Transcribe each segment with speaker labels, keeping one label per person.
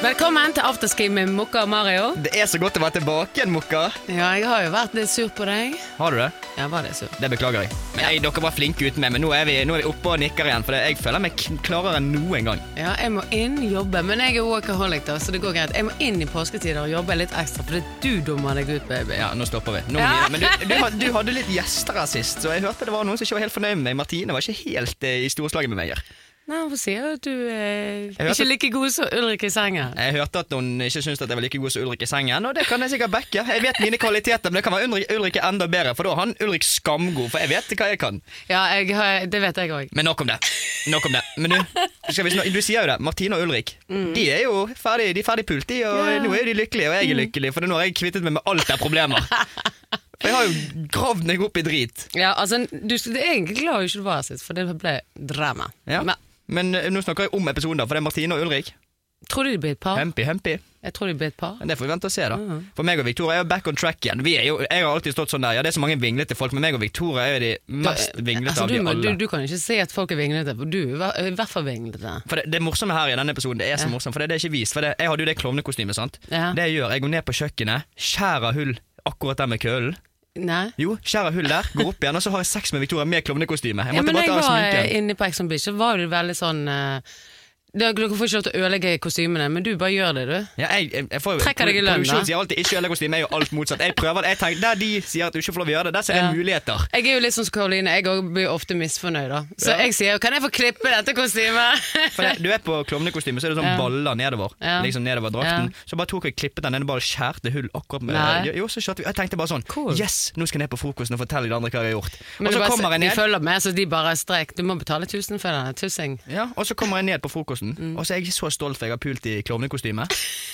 Speaker 1: Velkommen til afterski med Mokka og Mario.
Speaker 2: Det er så godt å være tilbake igjen, Mokka.
Speaker 1: Ja, jeg har jo vært litt sur på deg.
Speaker 2: Har du det?
Speaker 1: Ja, var det sur?
Speaker 2: Det beklager jeg. Men jeg, Dere var flinke uten meg, men nå er vi, nå er vi oppe og nikker igjen. For det- jeg føler meg k- klarere enn noen gang.
Speaker 1: Ja, jeg må inn, jobbe, men jeg er workaholic da, så det går greit. Jeg må inn i påsketider og jobbe litt ekstra, for det er du dummer deg ut, baby.
Speaker 2: Ja, nå stopper vi. Nå,
Speaker 1: Ja.
Speaker 2: gir- Men du, du, had- du hadde litt gjester her sist, så jeg hørte det var noen som ikke var helt fornøyd med meg. Martine var ikke helt eh, i storslaget med meg her.
Speaker 1: Nei, hvorfor sier du at du eh, ikke
Speaker 2: hørte-
Speaker 1: er like god som Ulrik i senga?
Speaker 2: Jeg hørte at hun ikke syntes at jeg var like god som Ulrik i sengen, og det kan jeg sikkert backe. Jeg vet mine kvaliteter, men det kan være Ulrik, Ulrik er enda bedre, for da er han Ulrik skamgod, for jeg vet hva jeg kan.
Speaker 1: Ja, jeg har, det vet jeg òg.
Speaker 2: Men nok om det. Nok om det. Men du, skal vi snak- du sier jo det. Martine og Ulrik De er jo ferdig, de er ferdig pult, de. Og
Speaker 1: Mm. Ja. Mm.
Speaker 2: nå er jo de lykkelige, og jeg er lykkelig, for nå har jeg kvittet meg med alt av problemer. For jeg har jo gravd meg opp i drit.
Speaker 1: Ja, altså, du, det er egentlig glad du ikke var her sist, for det ble drama.
Speaker 2: Ja.
Speaker 1: Men
Speaker 2: Men eh, nå snakker jeg om episoden, da, for det er Martine og Ulrik.
Speaker 1: tror du de blir et par?
Speaker 2: Humpy, humpy.
Speaker 1: Jeg tror de blir et par.
Speaker 2: Men Det får vi vente og se, da.
Speaker 1: Mm.
Speaker 2: For meg og Victoria er jo back on track igjen. Vi er jo, jeg har alltid stått sånn der. Ja, det er så mange vinglete folk, men meg og Victoria er jo de mest vinglete
Speaker 1: Altså,
Speaker 2: av
Speaker 1: du,
Speaker 2: de
Speaker 1: må, du,
Speaker 2: alle.
Speaker 1: du kan ikke si at folk er vinglete, for du er i hver- i hvert fall vinglete.
Speaker 2: For det, det morsomme her i denne episoden, det er så
Speaker 1: Ja.
Speaker 2: morsomt, for det, det er ikke vist. For det, jeg hadde jo det klovnekostymet, sant.
Speaker 1: Ja.
Speaker 2: Det jeg gjør, jeg går ned på kjøkkenet, skjærer hull akkurat der med kølen.
Speaker 1: Nei?
Speaker 2: Jo, skjærer hull der, går opp igjen, og så har jeg sex med Victoria med klovnekostyme. Jeg
Speaker 1: Ja,
Speaker 2: måtte
Speaker 1: men
Speaker 2: bare
Speaker 1: jeg
Speaker 2: ta av
Speaker 1: var eh,
Speaker 2: sminken.
Speaker 1: inne på Ex on Beach, så var du veldig sånn eh, Dere dere får ikke lov til å ødelegge kostymene, men du bare gjør det, du.
Speaker 2: Ja, jeg, jeg, jeg får, jo-
Speaker 1: Trekker deg i lønn, da.
Speaker 2: Produksjonen sier alltid 'ikke ødelegg kostyme', jeg er jo alt motsatt. Jeg prøver, jeg tenker, Der de sier at du ikke får lov å gjøre det, der ser jeg
Speaker 1: Ja.
Speaker 2: muligheter.
Speaker 1: Jeg er jo litt sånn som Karoline, jeg også blir ofte misfornøyd, da. Så
Speaker 2: Ja.
Speaker 1: jeg sier jo 'kan jeg få klippe dette kostymet'?
Speaker 2: For det, Du er på klovnekostyme, så er det sånn
Speaker 1: Ja.
Speaker 2: baller nedover.
Speaker 1: Ja.
Speaker 2: Liksom nedover drakten
Speaker 1: Ja.
Speaker 2: Så bare tok jeg klippet den ene, bare skjærte hull akkurat med
Speaker 1: Nei.
Speaker 2: Jo, så skjøtte vi. Jeg tenkte bare sånn
Speaker 1: Cool.
Speaker 2: Yes, nå skal jeg ned på frokosten og fortelle de andre hva jeg har gjort.
Speaker 1: Men
Speaker 2: Og
Speaker 1: du
Speaker 2: så
Speaker 1: bare,
Speaker 2: kommer jeg
Speaker 1: de
Speaker 2: ned.
Speaker 1: følger med, så de bare strek. Du må betale 1000 for denne tussing.
Speaker 2: Ja, Og så kommer jeg ned på frokosten,
Speaker 1: Mm.
Speaker 2: og så er jeg så stolt for jeg har pult i klovnekostyme.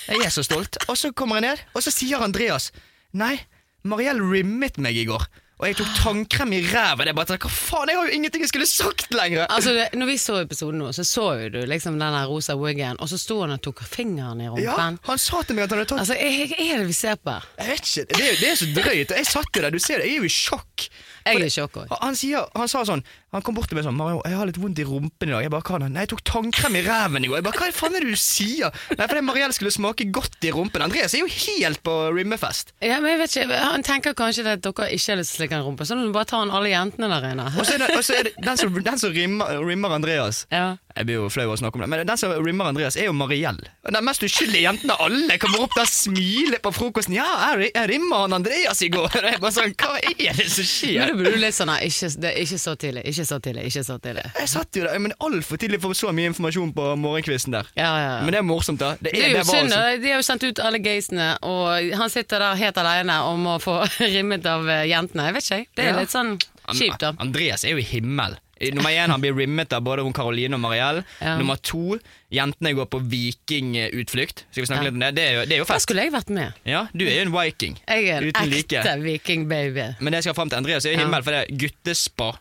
Speaker 2: Jeg er så stolt. Og så kommer jeg ned, og så sier Andreas Nei, Mariell rimmet meg i går. Og jeg tok tannkrem i ræva. Det er bare sånn, Hva faen, jeg har jo ingenting jeg skulle sagt lenger!
Speaker 1: Altså, det, når vi så episoden nå, så så jo du liksom den der rosa wiggen, og så sto han og tok fingeren i
Speaker 2: Ja,
Speaker 1: rumpen.
Speaker 2: han sa til meg at han hadde tatt
Speaker 1: Altså, jeg- hva er det vi ser på?
Speaker 2: Jeg vet ikke, det er, det er så drøyt. Og jeg satt jo der, du ser det, jeg er jo i sjokk.
Speaker 1: Jeg er i sjokk òg.
Speaker 2: Han, han, sier, han sa sånn Han kom bort til meg sånn 'Mario, jeg har litt vondt i rumpen i dag.' Jeg bare 'Hva da?' 'Nei, jeg tok tannkrem i ræven i går.' Jeg bare 'Hva faen er det du sier?' Nei, fordi Mariell skulle smake godt i rumpen. Andreas er jo helt på rimmefest.
Speaker 1: Ja, men jeg vet ikke, han tenker kanskje at dere ikke har lyst til å slikke en rumpe, så nå bare tar han alle jentene der inne.
Speaker 2: Og så er det, og så er det den som, den som rimmer, rimmer Andreas
Speaker 1: Ja.
Speaker 2: Jeg blir jo flau av å snakke om det, men den som rimmer Andreas, er jo Mariell. Og Den mest uskyldige jenten av alle kommer opp der smiler på frokosten. 'Ja, jeg, ri- jeg rimmer han Andreas i går.' Og jeg bare sånn Hva er det som
Speaker 1: Men
Speaker 2: skjer?
Speaker 1: da burde du litt sånn Nei, ikke, det er ikke så tidlig, ikke så tidlig, ikke så tidlig.
Speaker 2: Jeg satt jo der, men altfor tidlig for så mye informasjon på morgenkvisten der.
Speaker 1: Ja, ja, ja.
Speaker 2: Men det er morsomt, da. Det
Speaker 1: Det
Speaker 2: er,
Speaker 1: er jo
Speaker 2: det var
Speaker 1: synd,
Speaker 2: altså-
Speaker 1: da. de har jo sendt ut alle gaysene, og han sitter der helt alene og må få rimmet av eh, jentene. Jeg vet ikke, jeg. Det er
Speaker 2: Ja.
Speaker 1: litt sånn kjipt, da.
Speaker 2: Andreas er jo i himmel. I Nummer én han blir rimmet av både hun Karoline og Mariell.
Speaker 1: Ja.
Speaker 2: Nummer to jentene går på vikingutflukt. Skal vi snakke
Speaker 1: Ja.
Speaker 2: litt om det? Det er jo, det er jo
Speaker 1: Da
Speaker 2: fett.
Speaker 1: skulle jeg vært med.
Speaker 2: Ja, du er jo en viking.
Speaker 1: Jeg er en
Speaker 2: Uten like.
Speaker 1: ekte vikingbaby.
Speaker 2: Men det jeg skal fram til Andreas er i
Speaker 1: Ja.
Speaker 2: himmel, for det er guttespa.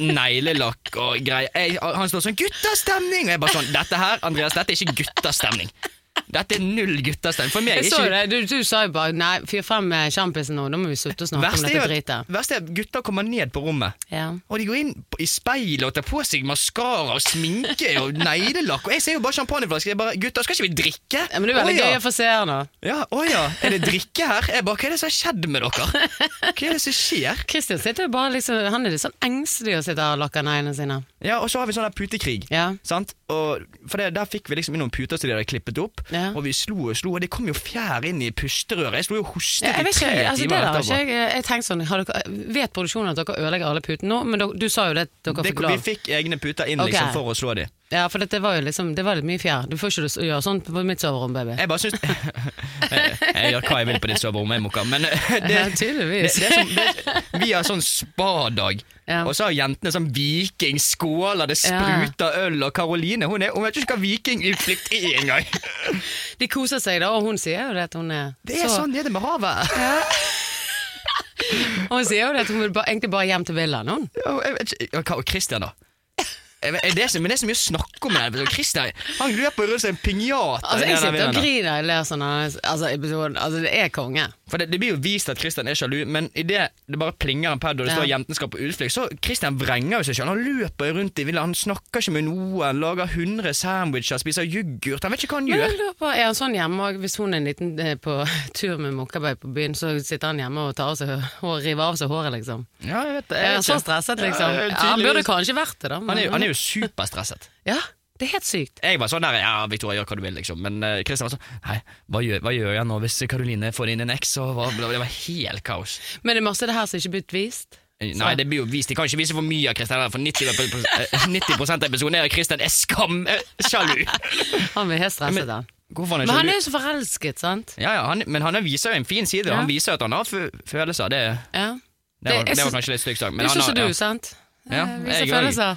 Speaker 2: Neglelakk og greier. Jeg, han står sånn 'guttastemning'! Og jeg bare sånn Dette her, Andreas, dette er ikke guttastemning. Dette er null guttastemning. For meg er
Speaker 1: Jeg så
Speaker 2: ikke
Speaker 1: det, du, du sa jo bare nei, fyr frem eh, sjampisen nå, nå må vi slutte å snakke om
Speaker 2: Verst er,
Speaker 1: dette
Speaker 2: jo at-
Speaker 1: dritet.
Speaker 2: verst er at gutter kommer ned på rommet.
Speaker 1: Ja.
Speaker 2: Og de går inn på- i speilet og tar på seg maskara og sminke og neglelakk. Og jeg ser jo bare champagneflasker. Jeg bare, gutter, skal ikke vi drikke?
Speaker 1: Ja, men det er veldig
Speaker 2: Å ja.
Speaker 1: gøy å få seerne.
Speaker 2: Ja, å ja. Er det drikke her? Jeg bare, hva er det som har skjedd med dere? Hva er det som skjer?
Speaker 1: Christian sitter jo bare liksom, han er litt sånn engstelig og sitter her og lakker neglene sine.
Speaker 2: Ja, og så har vi sånn der putekrig.
Speaker 1: Ja.
Speaker 2: Sant? Og for det, Der fikk vi liksom inn noen puter som de hadde klippet opp,
Speaker 1: Ja.
Speaker 2: og vi slo og slo, og det kom jo fjær inn i pusterøret. Jeg slo jo og hostet
Speaker 1: Ja, jeg
Speaker 2: i
Speaker 1: vet
Speaker 2: tre
Speaker 1: ikke, altså det
Speaker 2: timer
Speaker 1: der har
Speaker 2: etterpå.
Speaker 1: ikke jeg, jeg tenkte sånn, har dere, vet produksjonen at dere ødelegger alle putene nå, men dere, du sa jo det at dere
Speaker 2: Det,
Speaker 1: fikk
Speaker 2: vi
Speaker 1: lov.
Speaker 2: fikk egne puter inn
Speaker 1: Ok.
Speaker 2: liksom for å slå dem.
Speaker 1: Ja, for dette var jo liksom, det var litt mye fjær. Du får ikke lyst til å gjøre sånn på mitt soverom, baby.
Speaker 2: Jeg bare syns jeg, jeg gjør hva jeg vil på ditt soverom, jeg, Mokka, men eh, det,
Speaker 1: ja, tydeligvis.
Speaker 2: Det, det er som, det, vi har sånn spadag,
Speaker 1: Ja.
Speaker 2: og så har jentene sånn vikingskåler, det
Speaker 1: Ja.
Speaker 2: spruter øl, og Karoline hun, er, hun vet ikke hva vikingutflukt er engang.
Speaker 1: De koser seg da, og hun sier jo det at hun er,
Speaker 2: Det er
Speaker 1: så-
Speaker 2: sånn det er det med havet.
Speaker 1: Hun sier jo det at hun vil ba, egentlig bare hjem til villaen, hun.
Speaker 2: Ja, og jeg vet ikke- ja, Hva, og Christian, da? Jeg vet- det er så, men det er så mye å snakke om. her. Christer han løper rundt som en pinjata.
Speaker 1: Altså,
Speaker 2: i
Speaker 1: jeg
Speaker 2: den
Speaker 1: sitter og
Speaker 2: arenaen.
Speaker 1: griner jeg ler sånn. av- Altså, episoden, altså, det er konge.
Speaker 2: For det, det blir jo vist at Christian er sjalu, men idet det bare plinger en pad og det
Speaker 1: Ja.
Speaker 2: står 'jentene skal på utflukt', så Christian vrenger jo seg sjøl. Han løper jo rundt i villa, han snakker ikke med noen, lager 100 sandwicher, spiser yoghurt Han vet ikke hva han
Speaker 1: Men
Speaker 2: gjør.
Speaker 1: jeg lurer på, Er han sånn hjemme òg? Hvis hun er en liten eh, på tur med Mokkaberg på byen, så sitter han hjemme og tar av seg hår, river av seg håret, liksom?
Speaker 2: Ja, jeg vet, det, jeg
Speaker 1: Er
Speaker 2: vet
Speaker 1: han så
Speaker 2: ikke.
Speaker 1: stresset, liksom?
Speaker 2: Ja,
Speaker 1: Ja, han burde
Speaker 2: tydeligvis.
Speaker 1: kanskje vært det, da. men-
Speaker 2: Han er, jo- han er jo superstresset.
Speaker 1: Ja, det er helt sykt.
Speaker 2: Jeg var sånn der 'ja, Victoria, gjør hva du vil', liksom. Men eh, Christian var sånn 'nei, hva gjør, hva gjør jeg nå hvis Karoline får inn en eks?' Og hva, det var helt kaos. Eh,
Speaker 1: Men det er masse av det her som ikke er blitt vist.
Speaker 2: Nei, det blir jo vist. De kan ikke vise for mye av Christian, her, for 90, eh, 90 av episoden er Christian er skam eh, sjalu.
Speaker 1: Han blir helt stresset,
Speaker 2: Men-
Speaker 1: han.
Speaker 2: Hvorfor han er
Speaker 1: Men han
Speaker 2: sjalu?
Speaker 1: er jo så forelsket, sant?
Speaker 2: Ja, ja, han, men han viser jo en fin side. og
Speaker 1: Ja.
Speaker 2: Han viser jo at han har fø- følelser. Det,
Speaker 1: Ja.
Speaker 2: det, var,
Speaker 1: jeg
Speaker 2: det var
Speaker 1: synes-
Speaker 2: kanskje litt stygt sagt.
Speaker 1: Det er
Speaker 2: han
Speaker 1: sånn som
Speaker 2: har-
Speaker 1: du, sant?
Speaker 2: Ja,
Speaker 1: Eh,
Speaker 2: jeg
Speaker 1: Viser
Speaker 2: gjør det.
Speaker 1: følelser.
Speaker 2: ja.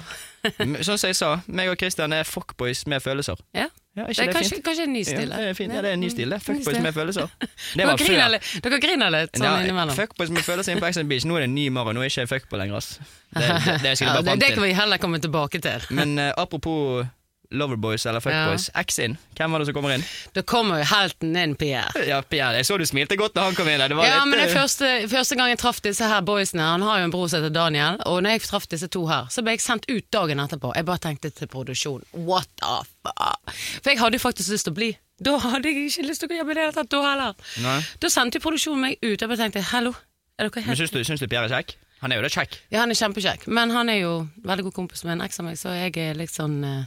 Speaker 2: Sånn som jeg sa, meg og Christian er fuckboys med følelser.
Speaker 1: Ja.
Speaker 2: Ja,
Speaker 1: Det
Speaker 2: ikke
Speaker 1: er
Speaker 2: det,
Speaker 1: kanskje,
Speaker 2: fint?
Speaker 1: kanskje en ny stil.
Speaker 2: Ja, det er fint. Ja, det er en ny stil. det.
Speaker 1: Ny
Speaker 2: Fuckboys
Speaker 1: stil.
Speaker 2: med følelser. Det
Speaker 1: Dere
Speaker 2: var
Speaker 1: griner
Speaker 2: før.
Speaker 1: litt, dere griner litt sånn
Speaker 2: Ja,
Speaker 1: innimellom.
Speaker 2: fuckboys med følelser inne på Ex on the Beach. Nå er det en ny Maro. Nå er ikke jeg fuckboy lenger. ass. Det, det, det, er jeg sikkert
Speaker 1: Ja,
Speaker 2: bare
Speaker 1: det, det
Speaker 2: vant
Speaker 1: kan
Speaker 2: til.
Speaker 1: vi heller komme tilbake til.
Speaker 2: Men eh, apropos Loverboys eller fuckboys. X-in. Hvem var det som kommer inn?
Speaker 1: Da kommer jo helten inn, Pierre.
Speaker 2: Ja, Pierre. Jeg så du smilte godt da han kom inn. der. Det var
Speaker 1: Ja,
Speaker 2: litt,
Speaker 1: men det
Speaker 2: eh,
Speaker 1: første, første gang jeg traff disse her boysene Han har jo en bror som heter Daniel Og når jeg traff disse to her Så ble jeg sendt ut dagen etterpå Jeg bare tenkte til produksjon What the fuck For jeg hadde faktisk lyst til å bli Da hadde jeg ikke lyst til å jobbe i det hele tatt Da heller
Speaker 2: Nei.
Speaker 1: Da sendte jo produksjonen meg ut Jeg bare tenkte, hallo Er dere
Speaker 2: Men
Speaker 1: helt
Speaker 2: syns du, syns du Pierre er kjekk? Han er jo da kjekk.
Speaker 1: Ja, han er kjempekjekk Men han er jo veldig god kompis med en eks av meg Så jeg er litt sånn eh,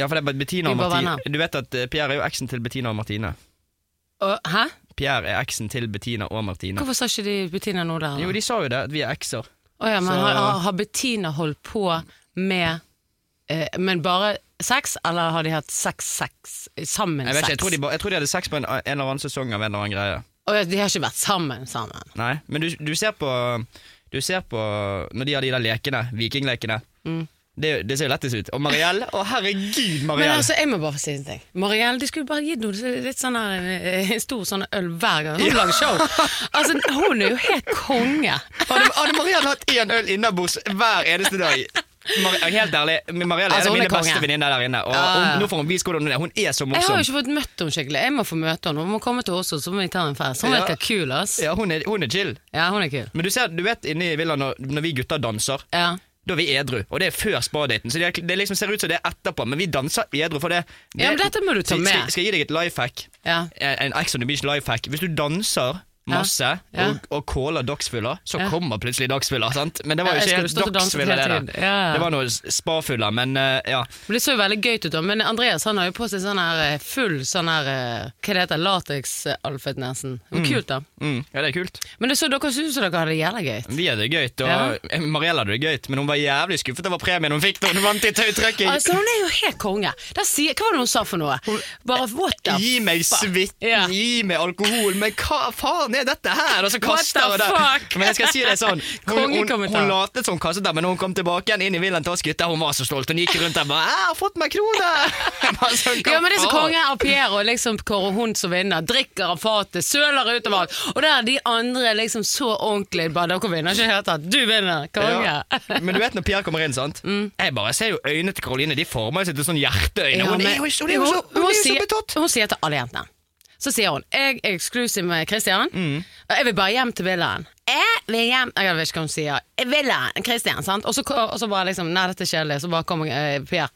Speaker 2: Ja, for det er Bettina og
Speaker 1: Vi bare
Speaker 2: Martine.
Speaker 1: venner.
Speaker 2: Du vet at eh, Pierre er jo eksen til Bettina og Martine.
Speaker 1: «Å, Hæ?
Speaker 2: Pierre er eksen til Bettina og Martine.
Speaker 1: Hvorfor sa ikke de Bettina nå der?
Speaker 2: Jo, de sa jo det, at vi er ekser.
Speaker 1: Å ja, men
Speaker 2: Så-
Speaker 1: har, har- har Bettina holdt på med eh, Men bare sex, eller har de hatt sex-sex? Sammen
Speaker 2: Jeg vet ikke, jeg tror, de
Speaker 1: sex?
Speaker 2: ba, jeg tror de hadde sex på en, en eller annen sesong av en eller annen greie.
Speaker 1: Å ja, de har ikke vært sammen sammen.
Speaker 2: Nei, men du, du ser på Du ser på når de har de der lekene, vikinglekene. Det, det ser jo lettest ut. Og Marielle Å, herregud,
Speaker 1: Mm. Men
Speaker 2: Marielle!
Speaker 1: altså, jeg må bare si en ting. Marielle, de skulle bare gitt henne litt sånn her, eh, en stor sånn øl hver gang hun lager show. Altså, hun er jo helt konge.
Speaker 2: hadde, hadde Marielle hatt én øl innabords hver eneste dag Mar Helt ærlig, Marielle
Speaker 1: Altså, hun er
Speaker 2: er en av mine beste
Speaker 1: konge.
Speaker 2: venninner der inne. Og,
Speaker 1: Ja, ja.
Speaker 2: og nå får hun vist hvordan hun er. Hun er så
Speaker 1: Jeg har jo
Speaker 2: morsom.
Speaker 1: ikke fått møtt henne skikkelig. Jeg må få møte henne. Hun må komme til oss, og så må vi ta en fest. Hun
Speaker 2: Ja.
Speaker 1: virker kul, ass.
Speaker 2: Ja, hun er, hun er chill.
Speaker 1: Ja, hun er kul.
Speaker 2: Men du, ser, du vet inne i villaen når, når vi gutter danser,
Speaker 1: Ja.
Speaker 2: da er vi edru. Og det er før spadaten. Så det, er- det liksom ser ut som det er etterpå, men vi danser edru. For det, det
Speaker 1: Ja, men dette må du ta
Speaker 2: Skal-
Speaker 1: med.
Speaker 2: Skal, skal jeg gi deg et life hack?
Speaker 1: Ja.
Speaker 2: En Ex on the Beach life hack. Hvis du danser masse
Speaker 1: Ja.
Speaker 2: og, og caller dagsfyller, så
Speaker 1: Ja.
Speaker 2: kommer plutselig dagsfyller. sant? Men det var
Speaker 1: Ja,
Speaker 2: jo
Speaker 1: jeg
Speaker 2: ikke
Speaker 1: skulle stått og
Speaker 2: helt
Speaker 1: danset
Speaker 2: dagsfyller,
Speaker 1: hele
Speaker 2: det
Speaker 1: tiden.
Speaker 2: der.
Speaker 1: Ja, ja.
Speaker 2: Det var noe spafyller, men eh, ja.
Speaker 1: Men Det så jo veldig gøy ut, da. Men Andreas han har jo på seg sånn her eh, full sånn her eh, Hva det heter Lateks-Alfred Nesen. Det var Kult, da.
Speaker 2: Mm, ja, det er kult.
Speaker 1: Men det så dere syntes dere hadde det jævla gøy.
Speaker 2: Vi hadde det gøy. Og
Speaker 1: Ja.
Speaker 2: eh, Marielle hadde det gøy, men hun var jævlig skuffet over premien hun fikk da hun vant i tautrekking.
Speaker 1: Altså, hun er jo helt konge. Da sier, hva var det hun sa for noe? Bare what the
Speaker 2: Gi meg suite,
Speaker 1: Ja.
Speaker 2: gi meg alkohol, men hva faen er dette her? Og så
Speaker 1: What
Speaker 2: kaster hun
Speaker 1: the
Speaker 2: det.
Speaker 1: fuck?
Speaker 2: Men jeg skal si det sånn, hun, hun,
Speaker 1: Kongekommentar.
Speaker 2: hun latet som hun kastet det, men når hun kom tilbake igjen inn i villaen til oss gutter, hun var så stolt. Hun gikk rundt der bare 'Jeg har fått meg krone!' Jeg bare sånn,
Speaker 1: Ja, men det er så
Speaker 2: «Hva faen?»
Speaker 1: konge av Piero, liksom hvor hun som vinner, drikker av fatet, søler utover alt. Og der er de andre liksom så ordentlig bare Dere vinner ikke i det hele tatt. Du vinner, konge. Mm.
Speaker 2: Ja. Men du vet når Pierre kommer inn, sant? Jeg bare ser jo øynene til Karoline, de former seg til sånn hjerteøyne.
Speaker 1: Ja,
Speaker 2: hun,
Speaker 1: men-
Speaker 2: er jo, hun er jo så, hun er jo så
Speaker 1: sier-
Speaker 2: betatt.
Speaker 1: Hun sier til alle jentene. Så sier hun jeg er exclusive med Christian.
Speaker 2: Mm.
Speaker 1: og Jeg vil bare hjem til villaen. Jeg vil hjem Jeg vet ikke hva hun sier. «Jeg Villaen, Christian. Sant? Og, så, og så bare liksom Nei, dette er kjedelig. Så bare kommer eh, Pierre.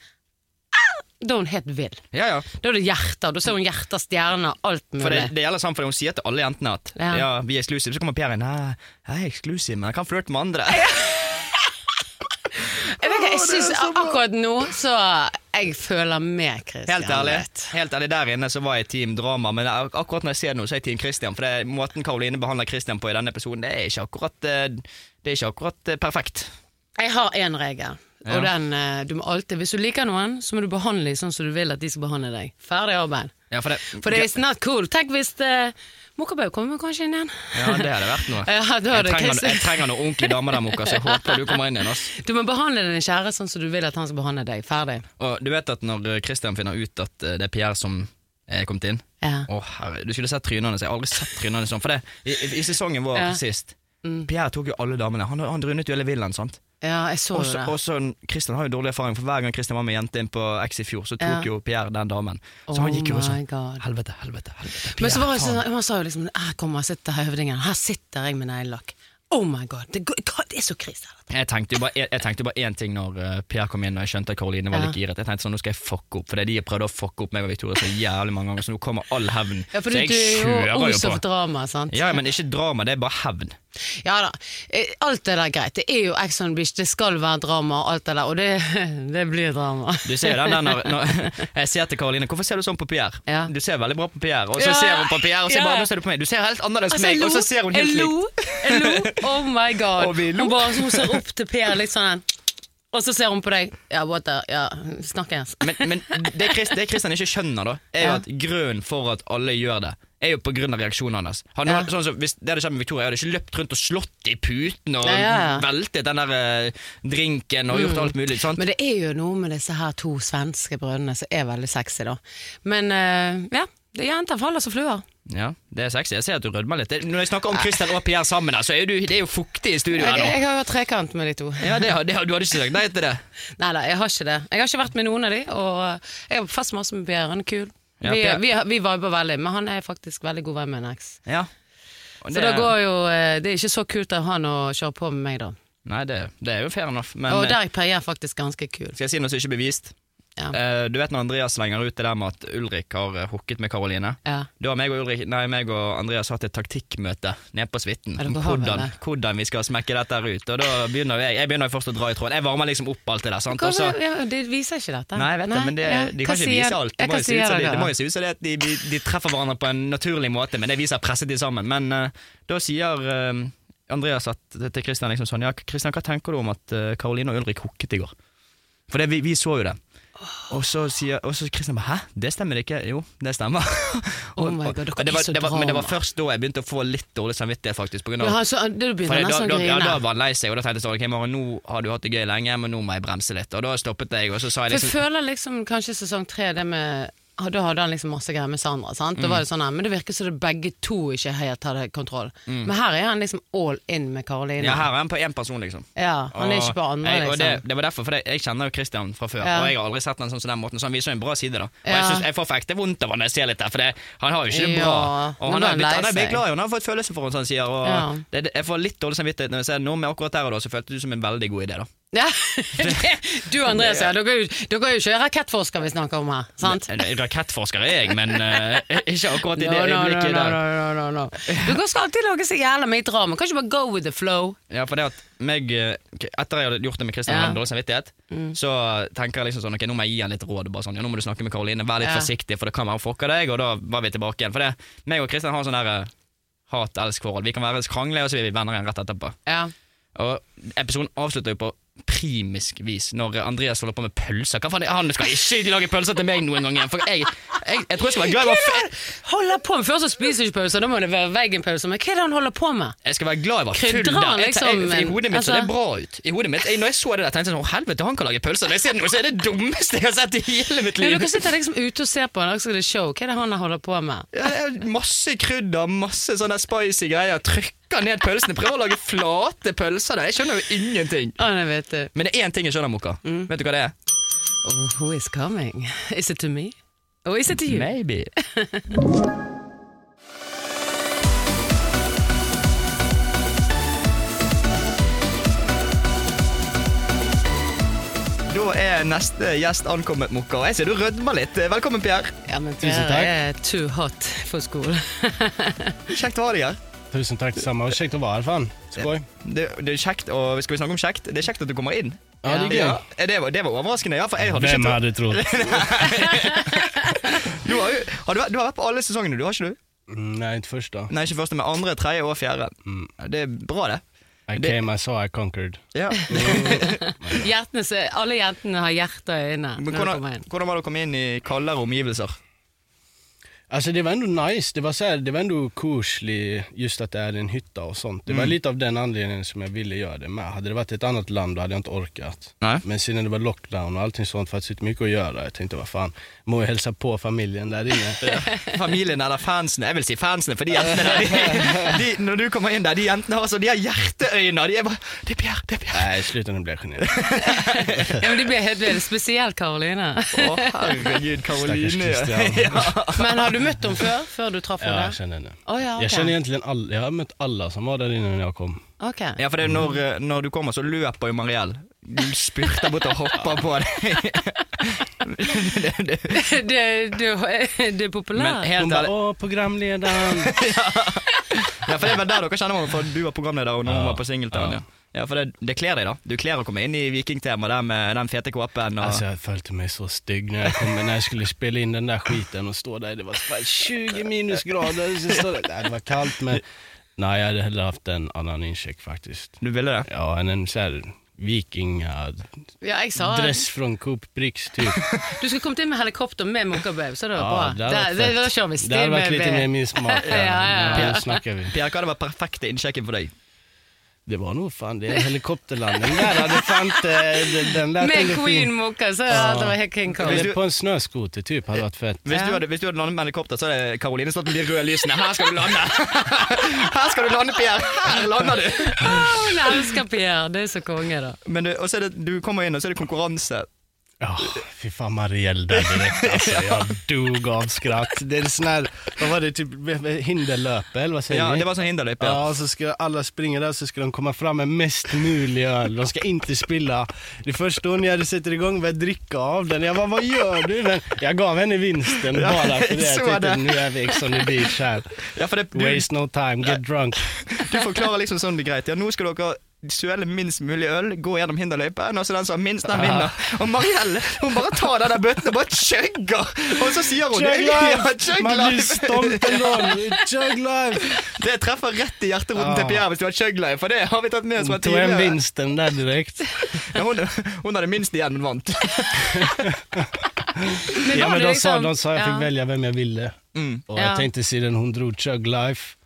Speaker 1: Ah! Da er hun helt vill.
Speaker 2: Ja, ja.
Speaker 1: Da er det hjerter. Da ser hun hjerter, stjerner, alt mulig.
Speaker 2: For det, det gjelder sånn, for hun sier til alle jentene at ja.
Speaker 1: Ja.
Speaker 2: vi er exclusive. Så kommer Pierre inn. Nei, jeg er exclusive, men jeg kan flørte med andre.
Speaker 1: jeg vet ikke, jeg
Speaker 2: Åh, det er
Speaker 1: synes,
Speaker 2: så bra.
Speaker 1: akkurat nå så Jeg føler med Christian.
Speaker 2: Helt ærlig,
Speaker 1: litt.
Speaker 2: helt ærlig, der inne så var jeg team drama, men ak- akkurat når jeg ser det nå, så er jeg team Christian. For det er måten Karoline behandler Christian på i denne episoden, det er ikke akkurat, eh, det er ikke akkurat eh, perfekt.
Speaker 1: Jeg har én regel. Og den, eh, du må alltid, Hvis du liker noen, så må du behandle dem sånn som du vil at de skal behandle deg. Ferdig arbeid.
Speaker 2: Ja, for det,
Speaker 1: For det er not cool. Tenk hvis uh, Mokkabaug kommer kanskje inn igjen.
Speaker 2: ja, det hadde vært noe.
Speaker 1: Ja, da
Speaker 2: jeg,
Speaker 1: hadde
Speaker 2: trenger,
Speaker 1: Christian-
Speaker 2: jeg trenger noen ordentlige damer der, Mokka, så jeg håper du kommer inn igjen. ass.
Speaker 1: Du må behandle din kjære sånn som du vil at han skal behandle deg. Ferdig.
Speaker 2: Og du vet at når eh, Christian finner ut at eh, det er Pierre som er kommet inn
Speaker 1: Ja.
Speaker 2: Å herre, Du skulle sett trynene hans. Jeg har aldri sett trynene sånn. For det, i, i sesongen vår
Speaker 1: Ja.
Speaker 2: Mm. sist Pierre tok jo alle damene. Han, han rundet jo hele villaen, sant.
Speaker 1: Ja, jeg så jo
Speaker 2: Også,
Speaker 1: det.
Speaker 2: også, Christian har jo dårlig erfaring, for hver gang Christian var med jente inn på X i fjor, så tok
Speaker 1: Ja.
Speaker 2: jo Pierre den damen. Så
Speaker 1: Oh
Speaker 2: han gikk jo også
Speaker 1: my God.
Speaker 2: Helvete, helvete, helvete.
Speaker 1: Men så var
Speaker 2: Pierre,
Speaker 1: det sånn,
Speaker 2: faen.
Speaker 1: han sa jo liksom Her kommer sitter høvdingen, her sitter jeg med neglelakk. Oh my god, det, går- hva- det er så krise. dette.
Speaker 2: jeg tenkte jo bare- jeg- jeg tenkte jo bare én ting når eh, Pierre kom inn og jeg skjønte at Karoline var
Speaker 1: Ja.
Speaker 2: litt giret. Jeg tenkte sånn, Nå skal jeg fucke opp, fordi de prøvde å fucke opp meg og Victoria så jævlig mange ganger, så nå kommer all hevn.
Speaker 1: Ja, for
Speaker 2: så
Speaker 1: du,
Speaker 2: jeg
Speaker 1: du er jo
Speaker 2: kjører
Speaker 1: os
Speaker 2: jo
Speaker 1: of
Speaker 2: på.
Speaker 1: drama, sant?
Speaker 2: Ja, men ikke drama, det er bare hevn.
Speaker 1: Ja da. Eh, Alt det der er greit. Det er jo Ex on the Beach, det skal være drama og alt det der, og det, det blir drama.
Speaker 2: Du ser den der når, når Jeg sier til Karoline 'Hvorfor ser du sånn på Pierre?'
Speaker 1: Ja.
Speaker 2: Du ser veldig bra på Pierre, og så
Speaker 1: Ja.
Speaker 2: ser hun på Pierre, og så
Speaker 1: Ja. Altså,
Speaker 2: bare 'Nå ser du på meg'. Du ser helt annerledes enn
Speaker 1: jeg
Speaker 2: meg,
Speaker 1: lo,
Speaker 2: og så ser hun helt
Speaker 1: jeg
Speaker 2: likt.
Speaker 1: lo, jeg lo, oh my god.
Speaker 2: Og vi lo.
Speaker 1: Hun bare hun ser opp til Per litt sånn, og så ser hun på deg. Ja, what the, ja, snakkes.
Speaker 2: Men, men det, Christ, det Christian ikke skjønner, da er jo
Speaker 1: Ja.
Speaker 2: at grunnen for at alle gjør det, er jo på grunn av reaksjonen hans. Han,
Speaker 1: Ja.
Speaker 2: hadde- sånn som, hvis det hadde skjedd med Victoria, jeg hadde ikke løpt rundt og slått i puten og
Speaker 1: Ja, ja, ja.
Speaker 2: veltet den der eh, drinken og gjort alt mulig. Sant?
Speaker 1: Men det er jo noe med disse her to svenske brødrene som er veldig sexy, da. Men eh, ja, det er jenter faller som fluer.
Speaker 2: ja, det er sexy. Jeg ser at du rødmer litt. Det- Når jeg snakker om Christian og Pierre sammen, her, så er jo du, det er jo fuktig i studio
Speaker 1: Jeg,
Speaker 2: her nå.
Speaker 1: jeg har jo trekant med de to.
Speaker 2: Ja, det, har- det, har- Du hadde ikke sagt nei til det.
Speaker 1: Nei da, jeg har ikke det. Jeg har ikke vært med noen av de, og eh, jeg har fast masse med Per, han er kul.
Speaker 2: Ja,
Speaker 1: vi,
Speaker 2: Per-
Speaker 1: vi, vi viber veldig, men han er faktisk veldig god venn med en eks.
Speaker 2: Ja.
Speaker 1: Så da går jo eh, Det er ikke så kult av han å kjøre på med meg, da.
Speaker 2: Nei, det, det er jo fair enough, men
Speaker 1: og
Speaker 2: eh,
Speaker 1: der er Per Gjær faktisk ganske kul.
Speaker 2: skal jeg si noe som ikke er bevist?
Speaker 1: Ja.
Speaker 2: Eh, du vet når Andreas slenger ut det der med at Ulrik har eh, hooket med Karoline?
Speaker 1: Ja.
Speaker 2: Da har meg og, Ulrik, nei, meg og Andreas hatt et taktikkmøte nede på suiten
Speaker 1: Ja,
Speaker 2: om
Speaker 1: dere har vel
Speaker 2: hvordan,
Speaker 1: det.
Speaker 2: hvordan vi skal smekke dette her ut. Og da begynner jeg, jeg begynner først å dra i tråden. Jeg varmer liksom opp alt det der. sant? Og
Speaker 1: Hva,
Speaker 2: så,
Speaker 1: ja, det viser ikke dette.
Speaker 2: nei, jeg vet det, men det,
Speaker 1: ja.
Speaker 2: De
Speaker 1: Hva
Speaker 2: kan ikke
Speaker 1: sier-
Speaker 2: vise alt.
Speaker 1: Ja,
Speaker 2: Det må
Speaker 1: hva sier
Speaker 2: jo se ut som det,
Speaker 1: dere?
Speaker 2: det må jo se ut som det at de, de, de treffer hverandre på en naturlig måte, men det viser presset de sammen. Men eh, da sier eh, Andreas at, til Christian liksom sånn Ja, Christian, hva tenker du om at eh, Karoline og Ulrik hooket i går? For det, vi, vi så jo det. Og så sier og så Christian bare 'hæ, det stemmer ikke'. Jo, det stemmer.
Speaker 1: Oh my God, dere
Speaker 2: Og det
Speaker 1: er
Speaker 2: var,
Speaker 1: så
Speaker 2: det var, men det var
Speaker 1: drama.
Speaker 2: først da jeg begynte å få litt dårlig samvittighet, faktisk. På grunn
Speaker 1: Ja,
Speaker 2: av,
Speaker 1: han så- eh, Da
Speaker 2: for
Speaker 1: begynner
Speaker 2: da,
Speaker 1: han nesten å
Speaker 2: da, ja, da
Speaker 1: grine.
Speaker 2: var han lei seg, og da tenkte jeg sånn Ok, Maren, nå har du hatt det gøy lenge, men nå må jeg bremse litt. Og da stoppet jeg, og så sa
Speaker 1: For
Speaker 2: jeg
Speaker 1: jeg
Speaker 2: liksom
Speaker 1: føler liksom kanskje sesong tre det med ah, da hadde han liksom masse greier med Sandra. sant?
Speaker 2: Mm.
Speaker 1: Da var det sånn her, Men det virker som det begge to ikke helt hadde kontroll. Men her er han liksom all in med Karoline.
Speaker 2: Mm. Ja, her er han på én person, liksom.
Speaker 1: Ja, han er
Speaker 2: Og-
Speaker 1: ikke på andre,
Speaker 2: jeg, og det,
Speaker 1: liksom.
Speaker 2: det var derfor, for jeg, jeg kjenner jo Christian fra før,
Speaker 1: Ja.
Speaker 2: og jeg har aldri sett han sånn som den måten, så han viser jo en bra side, da. Og jeg,
Speaker 1: Ja.
Speaker 2: synes, jeg får for ekte vondt av han når jeg ser litt der, for det, han har jo ikke det
Speaker 1: Ja, nå
Speaker 2: bra. og han
Speaker 1: ble
Speaker 2: har
Speaker 1: han
Speaker 2: blitt,
Speaker 1: lei
Speaker 2: han er blitt
Speaker 1: seg.
Speaker 2: glad i henne, han har fått følelser for henne, som han sier. Og
Speaker 1: Ja.
Speaker 2: det, det, jeg får litt dårlig samvittighet når jeg ser noe med akkurat der og da, så føltes det ut som en veldig god idé, da.
Speaker 1: Ja, Du Andreas, ja, dere er jo dere er jo ikke rakettforsker vi snakker om her. sant?
Speaker 2: En- en Rakettforsker er jeg, men eh, ikke akkurat i det
Speaker 1: No, no, no,
Speaker 2: øyeblikket
Speaker 1: no,
Speaker 2: der.
Speaker 1: no, no, no, no. Dere skal alltid lage så jævla mye drama. Kan ikke bare go with the flow.
Speaker 2: Ja, for det at meg, eh, ok, Etter jeg hadde gjort det med Kristian,
Speaker 1: Ja. Mm.
Speaker 2: hadde dårlig samvittighet, så tenker jeg liksom sånn Ok, nå må jeg gi han litt råd. Bare sånn, ja, nå må du snakke med Karoline, vær litt
Speaker 1: Ja.
Speaker 2: forsiktig, for det kan være hun fucker deg. Og da var vi tilbake igjen. For det, meg og Kristian har sånn der eh, hat-elsk-forhold. Vi kan være krangle, og så er vi venner igjen rett etterpå.
Speaker 1: Ja.
Speaker 2: Og episoden avslutter jo på primisk vis når Andreas holder på med pølser. Hva faen, er- Han skal ikke lage pølser til meg noen gang igjen! For jeg, jeg, jeg tror jeg skal være glad i hva f-
Speaker 1: Holder på med Før så spiser ikke pause, da må det være veggenpause. Men hva er det han holder på med?
Speaker 2: Jeg skal være glad jeg var full
Speaker 1: Krydrer han
Speaker 2: der. Jeg, jeg,
Speaker 1: liksom
Speaker 2: I hodet mitt så
Speaker 1: en-
Speaker 2: det bra ut. I hodet mitt, jeg, når jeg så det der, tenkte jeg sånn Å, helvete, han kan lage pølser. Når jeg ser det nå, så er det det dummeste jeg har sett i hele mitt
Speaker 1: Ja,
Speaker 2: liv.
Speaker 1: dere sitter liksom ute og ser på han, og så er det show. Hva er det han holder på med?
Speaker 2: Ja, det er masse krydder, masse sånne spicy greier. Trykker ned pølsene. Prøver å lage flate pølser der. Jeg skjønner jo ingenting.
Speaker 1: Å, det vet du.
Speaker 2: Men det er én ting jeg skjønner, Moka.
Speaker 1: Mm.
Speaker 2: Vet du hva det er?
Speaker 1: Oh, who is coming? Is it to me? Or is it to you?
Speaker 2: Maybe. Da er neste gjest ankommet, Mokka. Og jeg ser du rødmer litt. Velkommen, Pierre.
Speaker 1: Ja, men
Speaker 3: Tusen
Speaker 1: dere
Speaker 3: takk.
Speaker 1: er too hot for skole.
Speaker 2: Kjekt å ha deg her.
Speaker 3: Tusen takk det samme. og Kjekt å være her, faen. Skål.
Speaker 2: Det, det er kjekt, og Skal vi snakke om kjekt? Det er kjekt at du kommer inn.
Speaker 3: Ja, det er gøy.
Speaker 2: Ja, det, var, det var overraskende, ja. For jeg hadde
Speaker 3: Hvem
Speaker 2: ikke
Speaker 3: hadde trodd?
Speaker 2: tro- du har, jo- har, du, du har vært på alle sesongene, du har ikke du?
Speaker 3: Nei, ikke først da.
Speaker 2: Nei, ikke første, men andre, tredje og fjerde.
Speaker 3: Mm.
Speaker 2: Det er bra, det.
Speaker 3: I
Speaker 2: Det-
Speaker 3: came, I saw, I conquered.
Speaker 2: Ja.
Speaker 1: Hjertene, så- alle jentene har hjerter i øynene
Speaker 2: Men
Speaker 1: når de kommer
Speaker 2: hvordan,
Speaker 1: inn.
Speaker 2: hvordan var det å komme inn i kaldere omgivelser?
Speaker 3: Alltså Altså, det var ändå nice, det var, så här, det var ändå koslig just att det är en hytta och sånt.
Speaker 2: Mm.
Speaker 3: Det var lite av den anledningen som jag ville göra det med. Hade det varit ett annat land då hade jag inte orkat.
Speaker 2: Nej.
Speaker 3: Men sen när det var lockdown och allting sånt fanns det inte mycket att göra. Jag tänkte vad fan, må jag hälsa på familjen där inne.
Speaker 2: Familien eller fansen. Jeg vil si fansen, for de jentene der, de, de, når du kommer inn der, de jentene har sånn, de har hjerteøyne. De er bare Det er Pierre, det er Pierre.
Speaker 3: Nej, sluta nu blir jag generad.
Speaker 1: Ja, men det blir helt det, spesielt Karoline.
Speaker 2: Å, herregud,
Speaker 3: Stackars
Speaker 2: Karoline.
Speaker 3: Christian.
Speaker 1: Men har du møtt dem før? Før du traff
Speaker 3: Ja, jag
Speaker 1: henne?
Speaker 3: känner henne.
Speaker 1: Å ja, ok.
Speaker 3: Jag känner egentligen alla, jag har mött alla som var där inne när jag kom.
Speaker 1: Ok.
Speaker 2: Ja, for det er når, eh, når du kommer, så løper jo Mariell. Du spurter bort og hopper på deg. Det- det-
Speaker 1: Det, du, du er populær.
Speaker 2: Men helt
Speaker 3: Hon bara,
Speaker 2: ærlig-
Speaker 3: åh programledaren.
Speaker 2: Ja, for det var der dere kjenner hverandre, for du var programleder og når hun var på Singeltown. Ja. Ja, for det, det kler deg, da. Du kler å komme inn i vikingtema der med den fete kåpen og
Speaker 3: Alltså jag följde mig så stygg när jag kom, när jag skulle spela in den där skiten och stå där, det var fan 20 minusgrader. Så stod det, nej, det var kallt men, nej jag hade hellre haft en annan incheck faktiskt.
Speaker 2: Du ville det?
Speaker 3: Ja, en, sånn en såhär vikingadress
Speaker 1: Ja, jeg sa Du
Speaker 3: från Coop Bricks typ.
Speaker 1: skulle kommet inn med helikopter med Mokkabau, så det var
Speaker 3: Ja,
Speaker 1: bra. Da- Da da kjører vi
Speaker 3: Det hade
Speaker 1: stil
Speaker 3: varit
Speaker 1: med
Speaker 3: lite mer min smak.
Speaker 1: Ja, ja, ja.
Speaker 3: Nu snackar vi.
Speaker 2: Pierre, hva hadde vært perfekte innsjekken for deg?
Speaker 3: Det var nog fan det, helikopterlandning där hade fan inte, den- eh, den lät
Speaker 1: Med
Speaker 3: ändå fin.
Speaker 1: Queen Mokka, så ja, det var helt King Kong. Liksom.
Speaker 3: Eller på en snöskoter typ hade varit fett.
Speaker 2: Hvis, du hadde, hvis du hadde landet med helikopter, så hadde Karoline stått med de røde lysene. Her skal du lande! Her skal du lande, Pierre! Her lander du!
Speaker 1: Å, Hun elsker Pierre, det er så konge, da.
Speaker 2: Men du, og så er det, du kommer inn, og så er det konkurranse.
Speaker 3: Ja, fy fan Marielle där direkt alltså. Jag dog altså. av skratt. Det är en sån här, vad var det, typ hinderlöpe eller vad säger
Speaker 2: Ja,
Speaker 3: ni?
Speaker 2: Det var sånn hinderløype. Ja.
Speaker 3: Ja, och så ska alla springa där så ska de komma fram med mest mulig öl. De ska inte spilla. Det första hon gör, det sätter igång börjar dricka av den. Jag bara, vad gör du? Men jag gav henne vinsten bara för det.
Speaker 2: jag
Speaker 3: Jag
Speaker 2: såg
Speaker 3: tänkte,
Speaker 2: det.
Speaker 3: nu är vi sånn Ex on the beach här.
Speaker 2: Ja, for det, du,
Speaker 3: Waste no time, get drunk.
Speaker 2: du forklarer liksom sånn det er greit. Ja, nå skal dere Søle minst mulig øl, gå gjennom hinderløypen, og så den som har minst, den vinner. Og Marielle hun bare tar den der bøtten og bare chugger! Og så sier hun
Speaker 3: Chug
Speaker 2: Ja,
Speaker 3: life!
Speaker 2: chug
Speaker 3: Man blir
Speaker 2: life.
Speaker 3: stolpen av. Chug life!
Speaker 2: Det treffer rett i hjerteroten til
Speaker 3: Ja.
Speaker 2: Pierre hvis du har chug life, for det har vi tatt med oss fra
Speaker 3: Tog hem
Speaker 2: tidligere.
Speaker 3: vinsten där direkt.
Speaker 2: Ja, hun, hun hadde minst igjen, men vant.
Speaker 3: Ja
Speaker 1: var
Speaker 3: men
Speaker 1: det
Speaker 3: de sa,
Speaker 1: liksom-
Speaker 3: de sa jag fick
Speaker 1: ja.
Speaker 3: välja vem jag ville. Och
Speaker 1: Ja.
Speaker 3: jag tänkte sedan hon drog Chug Life.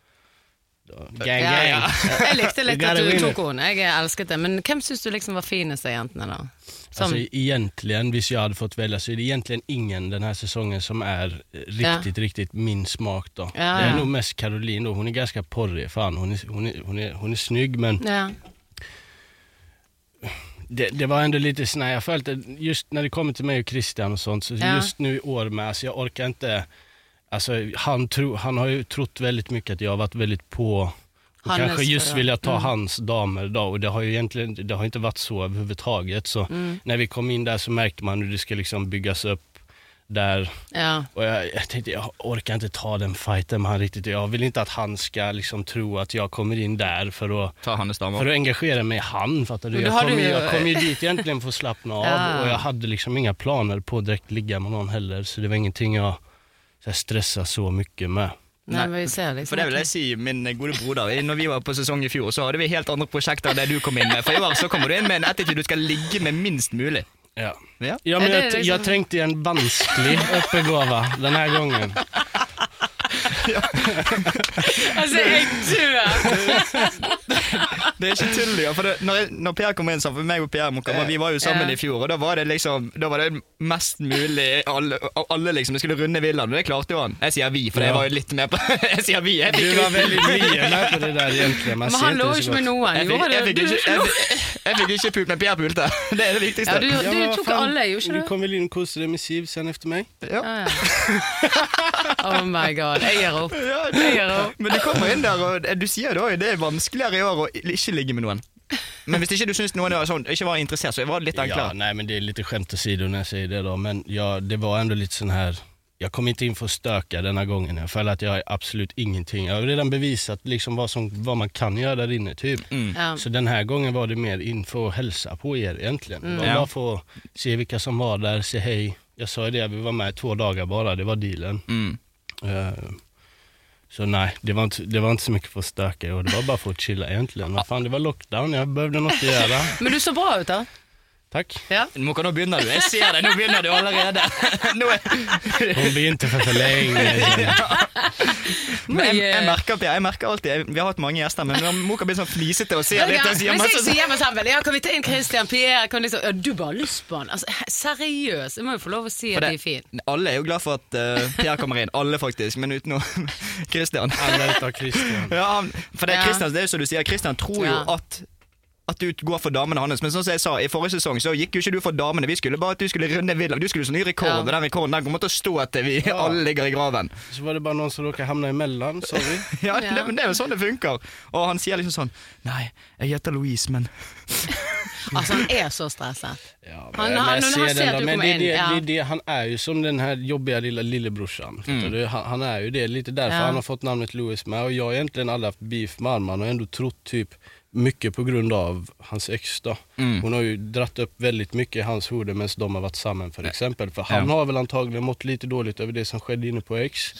Speaker 3: Då, Gang
Speaker 1: Ja,
Speaker 3: gang.
Speaker 1: ja. Jeg likte litt
Speaker 3: You
Speaker 1: at
Speaker 3: gotta
Speaker 1: du
Speaker 3: win
Speaker 1: tok
Speaker 3: it.
Speaker 1: henne, jeg elsket det. Men hvem syns du liksom var finest av jentene, da? Som,
Speaker 3: Alltså Altså, egentligen, hvis jag hade fått välja så är det egentligen ingen den här säsongen som är eh, riktigt, riktigt min smak då.
Speaker 1: Ja,
Speaker 3: det är
Speaker 1: ja.
Speaker 3: nog mest Caroline då, hon är ganska porrig fan. Hon är, hon är, hon är, hon är snygg men
Speaker 1: ja.
Speaker 3: det, det var ändå lite sån här, jag följde, just när det kommer till mig och Christian och sånt, så
Speaker 1: Ja.
Speaker 3: just nu i år med, alltså jag orkar inte, alltså han, tro, han har ju trott väldigt mycket att jag har varit väldigt på, och
Speaker 1: Hannes, Mm.
Speaker 3: kanske just
Speaker 1: ja.
Speaker 3: vill jag ta hans damer då, och det har ju egentligen det har inte varit så överhuvudtaget. Så
Speaker 1: Mm.
Speaker 3: när vi kom in där så märkte man hur det ska liksom byggas upp där.
Speaker 1: ja.
Speaker 3: Och jag, jag tänkte, jag orkar inte ta den fighten med han riktigt. Jag vill inte att han ska liksom tro att jag kommer in där för att
Speaker 2: Ta hans
Speaker 3: för
Speaker 2: damer.
Speaker 3: att engagera mig i han, fattar du?
Speaker 1: Men då
Speaker 3: Jag
Speaker 1: har
Speaker 3: kom,
Speaker 1: du
Speaker 3: ju...
Speaker 1: ju-
Speaker 3: jag kom ju dit egentligen för att slappna av
Speaker 1: Ja.
Speaker 3: och jag hade liksom inga planer på att direkt ligga med någon heller, så det var ingenting jeg så här, stressade så mycket med.
Speaker 1: Nei, men vi ser liksom
Speaker 2: For det vil jeg si, min gode broder, i- når vi var på sesong i fjor, så hadde vi helt andre prosjekter enn det du kom inn med. For i år så kommer du inn med en attityd du skal ligge med minst mulig.
Speaker 3: Ja.
Speaker 2: Ja.
Speaker 3: Ja,
Speaker 1: Er
Speaker 3: men
Speaker 1: det
Speaker 3: jag,
Speaker 1: liksom-
Speaker 3: jag trengte en vansklig öppegåva den här gången.
Speaker 1: Altså, jeg dør!
Speaker 2: Det er ikke tull, ja. For det, når, jeg, når Per kom inn, så for meg og Per Mokka, vi var jo sammen
Speaker 1: Ja.
Speaker 2: i fjor, og da var det liksom Da var det mest mulig alle, alle liksom. Vi skulle runde villaen, og det klarte jo han. Jeg sier vi, for jeg var jo litt med på Jeg sier vi. Jeg fikk
Speaker 3: Du var väldigt mye med på det där egentligen. Man
Speaker 1: Men
Speaker 3: ser
Speaker 1: han
Speaker 3: inte
Speaker 1: lå
Speaker 3: det så
Speaker 1: ikke med
Speaker 3: godt.
Speaker 1: noen.
Speaker 2: Jeg fikk,
Speaker 1: Gjorde
Speaker 2: jeg,
Speaker 1: det?
Speaker 2: fikk
Speaker 1: Du
Speaker 2: ikke,
Speaker 1: ikke
Speaker 2: jeg,
Speaker 1: noe?
Speaker 2: fikk- jeg fikk ikke pult, men Per pulte. Det er det
Speaker 1: Ja,
Speaker 2: viktigste.
Speaker 1: du,
Speaker 3: Ja, men
Speaker 1: du
Speaker 3: vad
Speaker 1: tok
Speaker 3: fan,
Speaker 1: alle, gjorde
Speaker 3: Du
Speaker 1: ikke du?
Speaker 3: kom väl in och kostade dig med Siv sen efter mig?
Speaker 1: Ja, ja. Oh my god, jeg gir opp.
Speaker 2: Ja,
Speaker 1: Jeg gir opp.
Speaker 2: Men du kommer inn der, og du sier jo da det er vanskeligere i år å ikke ligge med noen. Men hvis ikke du syns noen var sånn, ikke var interessert, så var det litt
Speaker 3: Ja,
Speaker 2: enklere.
Speaker 3: nej men det är lite skämt åsido när jag säger det då, men ja, det var ändå lite sån här jag kom inte in för att stöka denna gången, jag föll att jag är absolut ingenting. Jag har redan bevisat liksom vad, som, vad man kan göra där inne typ.
Speaker 2: Mm.
Speaker 1: Ja.
Speaker 3: Så den här gången var det mer inför att hälsa på er egentligen. Det var
Speaker 2: Mm. Ja.
Speaker 3: bara för att se vilka som var där, se hej. Jag sa ju det, vi var med två dagar bara, det var dealen.
Speaker 2: Mm.
Speaker 3: Eh, så nej, det var, inte, det var inte så mycket för att stöka och det var bara för att chilla egentligen. Vad fan, det var lockdown, jag behövde något att göra.
Speaker 1: Men du så bra ut, da.
Speaker 3: Tack.
Speaker 1: Ja.
Speaker 2: Nå, nå begynner du. Jeg ser det, nå begynner du allerede. Nå er...
Speaker 3: Hon begynte för för länge
Speaker 2: Men jeg, jeg merker opp, ja, jeg merker alltid jeg, Vi har hatt mange gjester, men nå har Moka blitt sånn flisete og ser litt og
Speaker 1: Hvis
Speaker 2: sier
Speaker 1: jeg
Speaker 2: masse sånn.
Speaker 1: sier hjemme sammen Ja, kan vi ta inn Christian Pierre? Kan liksom, ja, du bare har lyst på han. Altså, he- seriøst. Jeg må jo få lov å si
Speaker 2: For
Speaker 1: at de
Speaker 2: det-
Speaker 1: er fine.
Speaker 2: Alle er jo glad for at eh, Pierre kommer inn. Alle, faktisk, men utenom Christian.
Speaker 3: Alla utav Christian.
Speaker 2: Ja, han- for det, er
Speaker 1: Ja.
Speaker 2: Christian, det er jo som du sier, Christian tror jo
Speaker 1: Ja.
Speaker 2: at at du går for damene hans, men sånn som jeg sa, i forrige sesong så gikk jo ikke du for damene. Vi skulle bare at du skulle runde Wilhelm. Du skulle slå ny rekord,
Speaker 1: Ja.
Speaker 2: og den rekorden den kommer til å stå til vi
Speaker 3: Ja.
Speaker 2: alle ligger i graven.
Speaker 3: Så var det bara någon som råkade hamna emellan, sa vi.
Speaker 2: Ja,
Speaker 1: Ja.
Speaker 2: Det, men det er jo sånn det funker. Og han sier liksom sånn Nei, jeg heter Louise, men
Speaker 1: Altså, han er så stresset.
Speaker 3: Ja,
Speaker 1: Han-
Speaker 3: men
Speaker 1: han- han
Speaker 3: jag ser
Speaker 1: har sett
Speaker 3: den
Speaker 1: att
Speaker 3: då.
Speaker 1: du
Speaker 3: Men
Speaker 1: kommer
Speaker 3: det, är
Speaker 1: in,
Speaker 3: det,
Speaker 1: ja.
Speaker 3: det, är det, han är ju som den här jobbiga lilla lillebrorsan.
Speaker 1: Mm.
Speaker 3: Fattar du? Han, han är ju det, lite därför han har fått namnet Louis med. Och jag har egentligen aldrig haft beef med Arman och ändå trott typ mycket på grund av hans ex då.
Speaker 1: Mm.
Speaker 3: Hon har ju dratt upp väldigt mycket i hans huvud medan de har varit samman för exempel. För han har väl antagligen mått lite dåligt över det som skedde inne på ex.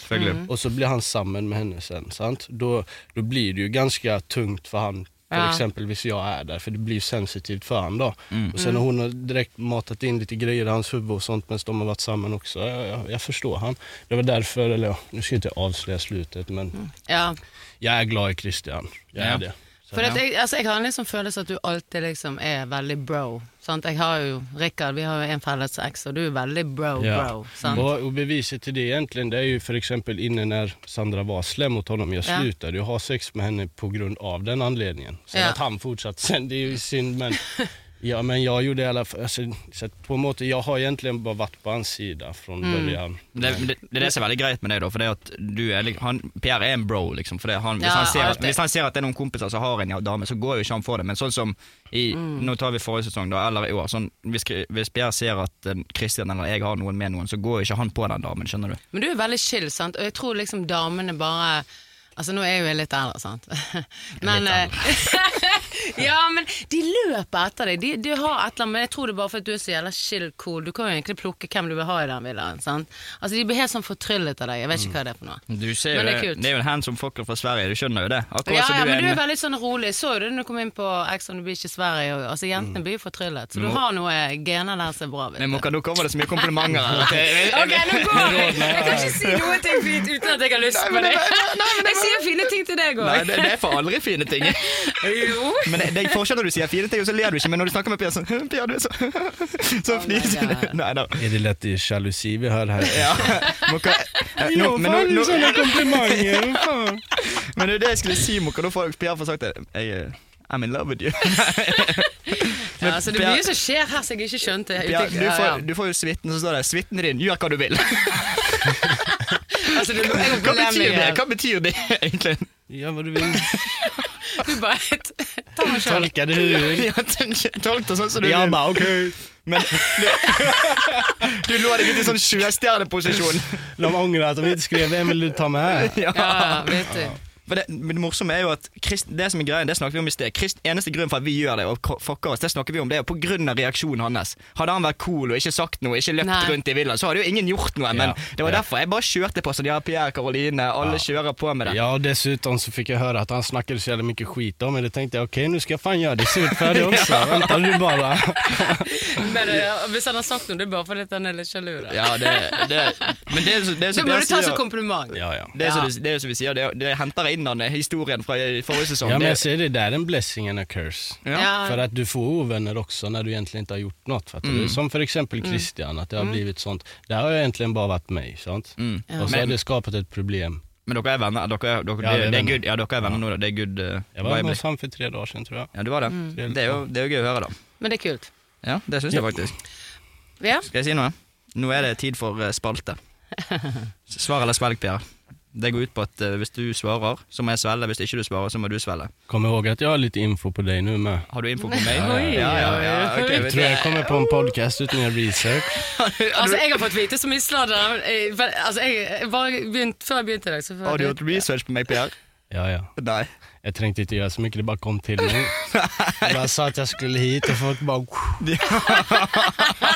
Speaker 3: Och så blir han samman med henne sen. Sant? Då, då blir det ju ganska tungt för han för
Speaker 1: Ja.
Speaker 3: exempel exempelvis jag är där, för det blir sensitivt för han då. Och sen har hon har direkt matat in lite grejer i hans huvud och sånt medan de har varit samman också. Jag, jag, jag förstår han. Det var därför, eller ja, nu ska jag inte avslöja slutet men
Speaker 1: Ja.
Speaker 3: jag är glad i Christian. Jag är
Speaker 2: Ja.
Speaker 3: det. Så,
Speaker 1: For at jeg, altså, jeg har en liksom følelse at du alltid liksom er veldig bro. Sant? Jeg har jo Rikard, vi har jo en felles eks, og du er veldig bro-bro. sant?
Speaker 3: Och, och beviset till det egentligen, det är ju för exempel inne när Sandra var slem mot honom. Jag
Speaker 1: Ja.
Speaker 3: slutade ju ha sex med henne på grund av den anledningen. Sen
Speaker 1: Ja.
Speaker 3: att han fortsatte sen, det är ju synd men Ja men jag gjorde i alla fall, alltså, så att på en måte, jag har egentligen bara varit på hans sida från början.
Speaker 2: Det, det, det er det som er veldig greit med deg, da. For det at du er, lik- han, Pierre er en bro, liksom. For det, han, hvis,
Speaker 1: Ja,
Speaker 2: han ser at,
Speaker 1: alltid.
Speaker 2: hvis han ser at det er noen kompiser som har en ja, dame, så går jo ikke han for det. Men sånn som i
Speaker 1: Mm.
Speaker 2: Nå tar vi forrige sesong, da, eller i år. Sånn, hvis, hvis Pierre ser at eh, Christian eller jeg har noen med noen, så går jo ikke han på den damen, skjønner du.
Speaker 1: Men du er veldig chill, sant? og jeg tror liksom damene bare Altså nå er jeg jo jeg litt eldre, sant. Men
Speaker 2: Litt
Speaker 1: eh, Ja, men de løper etter deg. De, de har et eller annet, men jeg tror det er bare fordi du er så jævla chill cool. Du kan jo egentlig plukke hvem du vil ha i den villaen. sant? Altså De blir helt sånn fortryllet av deg. Jeg vet ikke hva det er for noe.
Speaker 2: Du ser
Speaker 1: Men
Speaker 2: jo
Speaker 1: det er
Speaker 2: det,
Speaker 1: kult.
Speaker 2: det er jo en handsome fucker fra Sverige, du skjønner jo det. Akkurat
Speaker 1: Ja,
Speaker 2: som
Speaker 1: ja,
Speaker 2: du
Speaker 1: men du
Speaker 2: er
Speaker 1: er
Speaker 2: en
Speaker 1: veldig sånn rolig. Jeg så jo det når du kom inn på Ex on the Beach i Sverige. Og, altså Jentene blir jo fortryllet. Så du har noe eh, gener der som er bra.
Speaker 2: Mm. Men
Speaker 1: Vet du.
Speaker 2: Mokka, nå kommer det så mye komplimenter her.
Speaker 1: Ok, nå går jeg! Jeg kan ikke si noe ting fint uten at jeg har lyst på det. Jeg sier fine ting til deg
Speaker 2: Nei,
Speaker 1: òg.
Speaker 2: det, det er for aldri fine ting.
Speaker 1: Jo.
Speaker 2: Men det, det er forskjell når du sier fine ting, og så ler du ikke. Men når du snakker med Pierre sånn Pierre, du er så Så fnisete.
Speaker 1: God.
Speaker 2: Nei da.
Speaker 3: Är det lätt i jalusi vi hör här?
Speaker 2: Ja. Mokka, eh, nå, men, nå, nå,
Speaker 3: komplimanger!
Speaker 2: men det er det jeg skulle si, Mokka. Da får jeg- Pierre får sagt det. Jeg, eh, I'm in love with you.
Speaker 1: Ja, altså, det er mye som skjer her som jeg ikke skjønte.
Speaker 2: Pierre,
Speaker 1: Ute-
Speaker 2: du,
Speaker 1: ja, ja.
Speaker 2: får, du får jo suiten, så står det 'suiten din, gjør hva du vil'.
Speaker 1: Altså, du, jeg må
Speaker 2: Hva
Speaker 1: belemme
Speaker 2: betyr det
Speaker 1: igjen.
Speaker 2: Hva betyr det egentlig?
Speaker 3: Gör vad du vill.
Speaker 1: Du bare Ta meg selv.
Speaker 3: Tolka det hur du vill.
Speaker 2: Ja, Tolk det sånn som du
Speaker 3: Jag
Speaker 2: vil.
Speaker 3: bara okej.
Speaker 2: Men du, du lå deg ut i sånn sjøstjerneposisjon.
Speaker 3: De ångrar att de inte skrev vem vill du ta med här?
Speaker 2: Ja.
Speaker 1: Ja, vet du.
Speaker 2: For det, men det morsomme er jo at Christ, det som er greien, det snakket vi om i sted. Christ, eneste grunn for at vi gjør det og k- fucker oss, det snakker vi om, det er jo på grunn av reaksjonen hans. Hadde han vært cool og ikke sagt noe, ikke løpt
Speaker 1: Nei.
Speaker 2: rundt i villaen, så hadde jo ingen gjort noe. Men
Speaker 3: Ja,
Speaker 2: det var
Speaker 3: ja.
Speaker 2: derfor jeg bare kjørte på sånn, ja, Pierre Karoline, alle kjører på med det.
Speaker 3: Ja, och dessutom så fick jag höra att han snackade så jävla mycket skit om mig. Då tänkte jag okej, nu ska jag fan göra det surt för dig också. Vänta du bara.
Speaker 1: Men eh, hvis han har sagt noe, det er bare fordi at han er litt sjalu. da.
Speaker 2: Ja, det, det, men det, er så- det er
Speaker 1: Det
Speaker 2: så
Speaker 1: må
Speaker 2: Pierre
Speaker 1: du ta som
Speaker 2: sier-
Speaker 1: kompliment.
Speaker 3: Ja, ja.
Speaker 2: det er så
Speaker 1: Ja.
Speaker 2: du- det er som vi sier, det, det henter inn den historien fra forrige sesong.
Speaker 3: Ja, men jag
Speaker 2: det,
Speaker 3: säger det, där är en blessing and a curse. För att du får ovänner också när du egentligen inte har gjort något. Fattar
Speaker 2: Mm.
Speaker 3: du? Som för exempel Christian, att det har blivit sånt. Där har jag egentligen bara varit mig. Sant?
Speaker 2: Mm.
Speaker 1: Ja.
Speaker 3: Och så har
Speaker 2: Men-
Speaker 3: det skapat ett problem.
Speaker 2: men dere er venner, dere, er- dere,
Speaker 3: Ja, vi er
Speaker 2: det, det er
Speaker 3: venner.
Speaker 2: good, ja, dere er venner nå, da. det er good uh,
Speaker 3: Jag var
Speaker 2: vibe.
Speaker 3: hos honom för tre dagar sedan tror jag.
Speaker 2: Ja, du var det.
Speaker 1: Mm.
Speaker 2: Det, er jo, det er jo gøy å høre, da.
Speaker 1: Men det er kult.
Speaker 2: Ja, det syns jeg faktisk.
Speaker 1: Ja.
Speaker 2: Skal jeg si noe? Nå er det tid for eh, spalte. Svar eller svelg, Pierre. Det går ut på at eh, hvis du svarer, så må jeg svelge. Hvis ikke du svarer, så må du svelge.
Speaker 3: Kom ihåg att jag har lite info på dig nu med.
Speaker 2: Har du info på meg?
Speaker 3: Oi,
Speaker 2: ja, ja, ja. ok,
Speaker 3: Jag
Speaker 2: vet
Speaker 3: tror
Speaker 2: du.
Speaker 3: jag kommer på en podcast utan jag research.
Speaker 1: Altså, jeg har fått vite så mye sladder. eh, vel, Altså, jeg, jeg bare begynt, før jeg begynte i dag, så
Speaker 2: Har
Speaker 1: får
Speaker 2: du
Speaker 1: jeg
Speaker 2: gjort research på meg, Pierre?
Speaker 3: Ja, ja.
Speaker 2: Nej.
Speaker 3: Jag tänkte inte göra så mycket, det bara kom till mig. Jag bara sa att jag skulle hit och folk bara...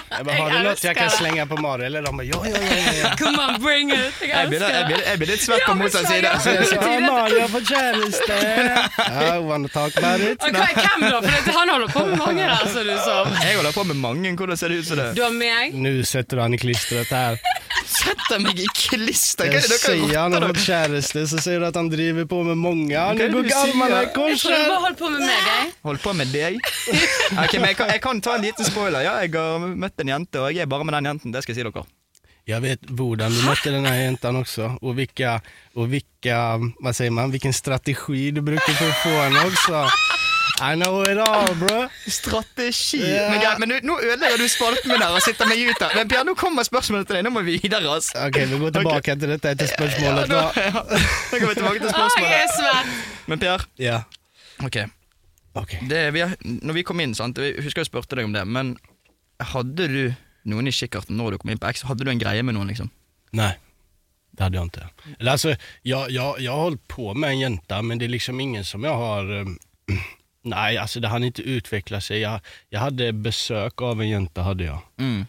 Speaker 3: Jag bara, har du något jag kan slänga på Mario? Eller de bara, ja, ja, ja. ja.
Speaker 1: Come on, bring it! Jeg
Speaker 2: Jeg blir, jeg
Speaker 1: elsker
Speaker 2: blir,
Speaker 1: det.
Speaker 2: jeg blir litt svett på
Speaker 1: Ja, men
Speaker 2: motsatt
Speaker 1: så er
Speaker 2: side.
Speaker 1: jeg-
Speaker 3: Så jag sa, ja, Mario får tjänste. Ja, wanna talk about it?
Speaker 1: Og hva er hvem, da? For dette, han holder på med mange der, ser det ut som.
Speaker 2: Jeg holder på med mange. Hvordan ser det ut som det?
Speaker 1: Du har meg.
Speaker 3: Nu sätter han i klistret här.
Speaker 2: setter meg i klister! Hva
Speaker 3: Jag
Speaker 2: er det
Speaker 3: säger
Speaker 2: dere
Speaker 3: han har
Speaker 2: rotter
Speaker 3: fått käreste, så säger du att han driver på med många. Nu
Speaker 2: Kan du
Speaker 3: går armarna
Speaker 2: säga-
Speaker 3: i
Speaker 1: Jeg tror du
Speaker 3: kors.
Speaker 1: bare holder på med meg, jeg.
Speaker 2: Hold på med deg. Ok, men jeg kan, jeg kan ta en liten spoiler. Ja, jeg har møtt en jente, og jeg er bare med den jenten. Det skal jeg si dere.
Speaker 3: Jag vet Bodan, du mötte den här jäntan också och vilka, och vilka, vad säger man, vilken strategi du brukar för att få henne också. I know it all bro.
Speaker 2: Strategi.
Speaker 3: Ja.
Speaker 2: Men, greit, men nu- nå ødelegger du spalten min her og sitter meg ut der. Men Bjørn, nå kommer spørsmålet til deg. Nå må vi videre, altså.
Speaker 3: Okej, vi går tillbaka till detta till
Speaker 2: Ja,
Speaker 3: spörsmålet.
Speaker 2: nå,
Speaker 3: va?
Speaker 2: ja. nå går vi tilbake til
Speaker 1: Å, jeg er
Speaker 2: spørsmålet.
Speaker 1: svett.
Speaker 2: Men Per,
Speaker 3: Ja,
Speaker 2: ok.
Speaker 3: okej.
Speaker 2: Det, vi, har- når vi kom inn, sant? jeg husker jeg spurte deg om det, men hadde du noen i kikkerten når du kom inn på X? Hadde du en greie med noen, liksom?
Speaker 3: Nej, det hade jag inte. Eller alltså, jag, jag, jag har hållit på med en jänta, men det är liksom ingen som jag har... eh, nej, alltså det hann inte utveckla sig. Jag, jag hade besök av en jänta, hade jag.
Speaker 2: Mm.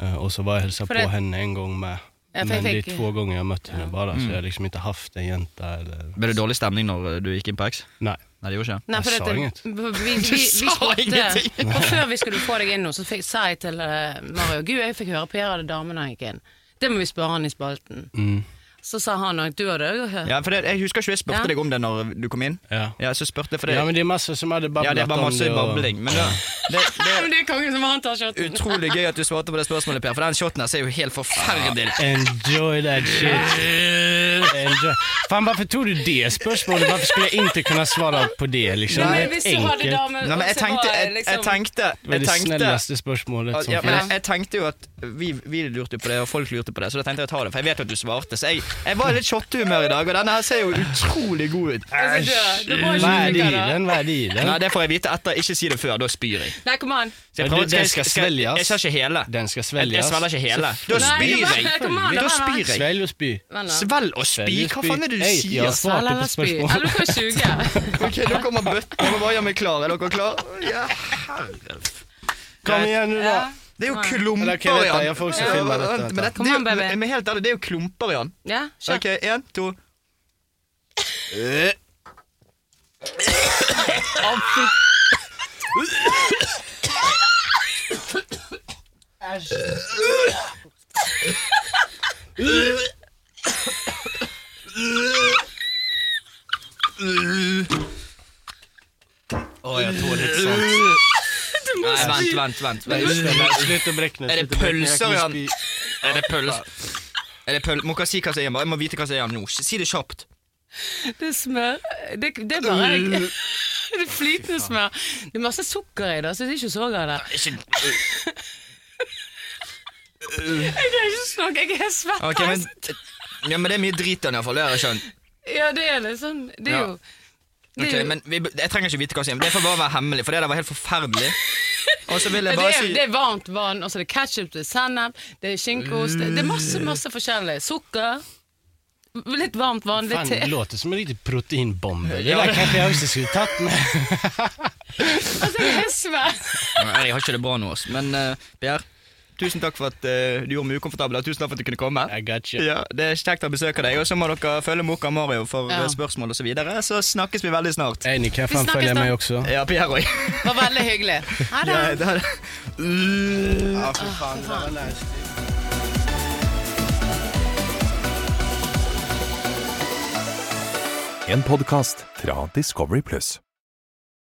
Speaker 3: Eh, och så var jag hälsade
Speaker 1: För
Speaker 3: på
Speaker 1: det-
Speaker 3: henne en gång med.
Speaker 1: Ja, för
Speaker 3: men
Speaker 1: jag
Speaker 3: det är
Speaker 1: fick-
Speaker 3: två gånger jag møtt henne bara, så jag har
Speaker 2: Mm.
Speaker 3: liksom inte haft en jänta eller...
Speaker 2: Ble det dårlig stemning når du gikk inn på X?
Speaker 3: Nej.
Speaker 2: Nei, det gjorde ikke det.
Speaker 1: Nei,
Speaker 3: Jeg
Speaker 1: for
Speaker 3: sa
Speaker 1: dette,
Speaker 3: ingenting.
Speaker 1: b- b- Vi, vi, vi
Speaker 2: sa
Speaker 1: spurte-
Speaker 2: ingenting.
Speaker 1: Og før vi skulle få deg inn nå, så fikk, sa jeg til eh, Mario Gud, jeg fikk høre Per hadde damen da han gikk inn. Det må vi spørre han i spalten. Så sa han òg du hadde òg hørt.
Speaker 2: Mm. Ja, for det, Jeg husker ikke jeg spurte
Speaker 1: Ja.
Speaker 2: deg om det når du kom inn.
Speaker 3: Ja.
Speaker 2: Ja, så spurte jeg for det.
Speaker 3: ja, men det är massor som hade babblat
Speaker 2: Ja,
Speaker 3: om
Speaker 2: det var masse
Speaker 3: och-
Speaker 2: babling. Men det, det,
Speaker 1: Ja, men
Speaker 2: det
Speaker 1: det er kongen som han tar
Speaker 2: er
Speaker 1: shoten.
Speaker 2: utrolig gøy at du svarte på det spørsmålet, Per, for den shoten her ser jo helt forferdelig ut.
Speaker 3: Enjoy that shit. Enjoy. Fan varför tog du det spørsmålet? Varför skulle jeg ikke kunne svare på det liksom?
Speaker 1: Ja,
Speaker 3: Det
Speaker 1: men
Speaker 3: är
Speaker 1: hvis
Speaker 3: ett
Speaker 1: du hadde
Speaker 3: enkelt-
Speaker 1: damen
Speaker 2: Nei, men jeg
Speaker 1: og så
Speaker 2: tenkte,
Speaker 1: var liksom det
Speaker 2: jeg, jeg tenkte,
Speaker 3: Det var
Speaker 2: jeg
Speaker 3: det
Speaker 2: tenkte
Speaker 3: snällaste spörsmålet som
Speaker 2: ja, men
Speaker 3: finns.
Speaker 2: jeg, jeg tenkte jo at vi, vi lurte på det, og folk lurte på det, så da tenkte jeg å ta det. For jeg vet jo at du svarte, så jeg, jeg var i litt shottehumør i dag, og denne her ser jo utrolig god ut.
Speaker 1: Jeg skal dø. Det var
Speaker 3: Hva
Speaker 1: ikke
Speaker 3: er
Speaker 1: lykke, da.
Speaker 3: dealen? Hva er dealen?
Speaker 2: Nei, det får jeg vite etter. Ikke si det før, da spyr jeg.
Speaker 1: Nei, kom an.
Speaker 2: Så jeg
Speaker 3: Ja,
Speaker 2: prøver-
Speaker 3: du, den skal svelges.
Speaker 2: Jeg sa ikke hele.
Speaker 3: Den skal
Speaker 2: Jeg, jeg
Speaker 3: svelges.
Speaker 2: svelger ikke hele. Da
Speaker 1: Nei,
Speaker 2: spyr
Speaker 1: det var-
Speaker 2: jeg.
Speaker 1: kom an, det
Speaker 2: Da
Speaker 1: var-
Speaker 2: spyr jeg.
Speaker 3: Svelg og spy.
Speaker 1: Vent da.
Speaker 2: Svelg og spy?
Speaker 3: Svelg og
Speaker 2: Hva
Speaker 3: spy.
Speaker 2: faen er det du
Speaker 3: Hey,
Speaker 2: sier?
Speaker 3: jeg svarte
Speaker 1: Eller
Speaker 3: på
Speaker 1: spy.
Speaker 3: spørsmålet.
Speaker 1: Eller du kan suge.
Speaker 2: Ok, nå kommer bøtten. Jeg må bare gjøre meg klar. Er dere klar? Ja, herre.
Speaker 3: Kom igjen nå, da.
Speaker 1: Ja.
Speaker 2: Det er jo
Speaker 3: Eller,
Speaker 2: klumper
Speaker 3: ok, vent da,
Speaker 2: Jan.
Speaker 3: jeg får også
Speaker 2: Ja,
Speaker 3: filme
Speaker 2: vent,
Speaker 3: dette,
Speaker 2: vent,
Speaker 3: vent
Speaker 2: men
Speaker 3: da.
Speaker 2: dette-
Speaker 1: Kom
Speaker 2: det er
Speaker 1: an,
Speaker 2: jo-
Speaker 1: baby.
Speaker 2: Men helt ærlig, det er jo klumper, Jan.
Speaker 1: Ja, kjør.
Speaker 2: Ok, én, to. Eh.
Speaker 3: Å, jeg tåler ikke sånt.
Speaker 2: Nei, vent, vent, vent.
Speaker 3: Nei,
Speaker 2: vent.
Speaker 3: slutt, Slutt å brekke ned.
Speaker 2: Er det
Speaker 3: slutt å brekke ned,
Speaker 2: pølser,
Speaker 3: jeg
Speaker 2: Jan?
Speaker 3: kommer spy.
Speaker 2: Er det pøls? Er det pøl? Må ikke si hva som er igjen. bare. Jeg må vite hva som er igjen nå. Si det kjapt.
Speaker 1: Det er smør. Det, det er bare Det er flytende smør. Det er masse sukker i det, så det er ikke så galt.
Speaker 2: Ikke-
Speaker 1: Jeg greier ikke å snakke, jeg er svett.
Speaker 2: Ok, men Ja, men det er mye drit i den, iallfall. Det har jeg skjønt.
Speaker 1: Ja, det er litt sånn Det er
Speaker 2: Ja.
Speaker 1: jo det er,
Speaker 2: Ok,
Speaker 1: jo-
Speaker 2: men vi, Jeg trenger ikke vite hva som er igjen. Det får bare være hemmelig, for det der var helt forferdelig. Og så vil
Speaker 1: det
Speaker 2: jeg bare
Speaker 1: er,
Speaker 2: si
Speaker 1: det er varmt vann, og så er det ketsjup, det er sennep, det er skinkeost Det det er masse masse forskjellig. Sukker. Litt varmt vann, litt
Speaker 3: Fan, det
Speaker 1: te.
Speaker 3: låter som en riktig proteinbombe. Det der kanskje jeg også skulle tatt med.
Speaker 1: Altså, jeg er svett.
Speaker 2: Nei, Jeg har ikke det bra nå, ass. Men eh, Pierre, tusen takk for at eh, du gjorde meg ukomfortabel, og tusen takk for at du kunne komme.
Speaker 3: I got you.
Speaker 2: Ja, Det er kjekt å besøke deg, og så må dere følge Moka Mario for
Speaker 1: Ja.
Speaker 2: eh, spørsmål og Så, videre så snakkes vi veldig snart.
Speaker 3: Ey, ni kan
Speaker 1: Vi
Speaker 3: fan
Speaker 1: snakkes
Speaker 3: følge
Speaker 1: da.
Speaker 3: meg også.
Speaker 2: Ja, Pierre òg.
Speaker 1: Det var veldig hyggelig. Ha det.
Speaker 3: Ja, for faen, det var nice.
Speaker 4: En podkast fra Discovery Pluss.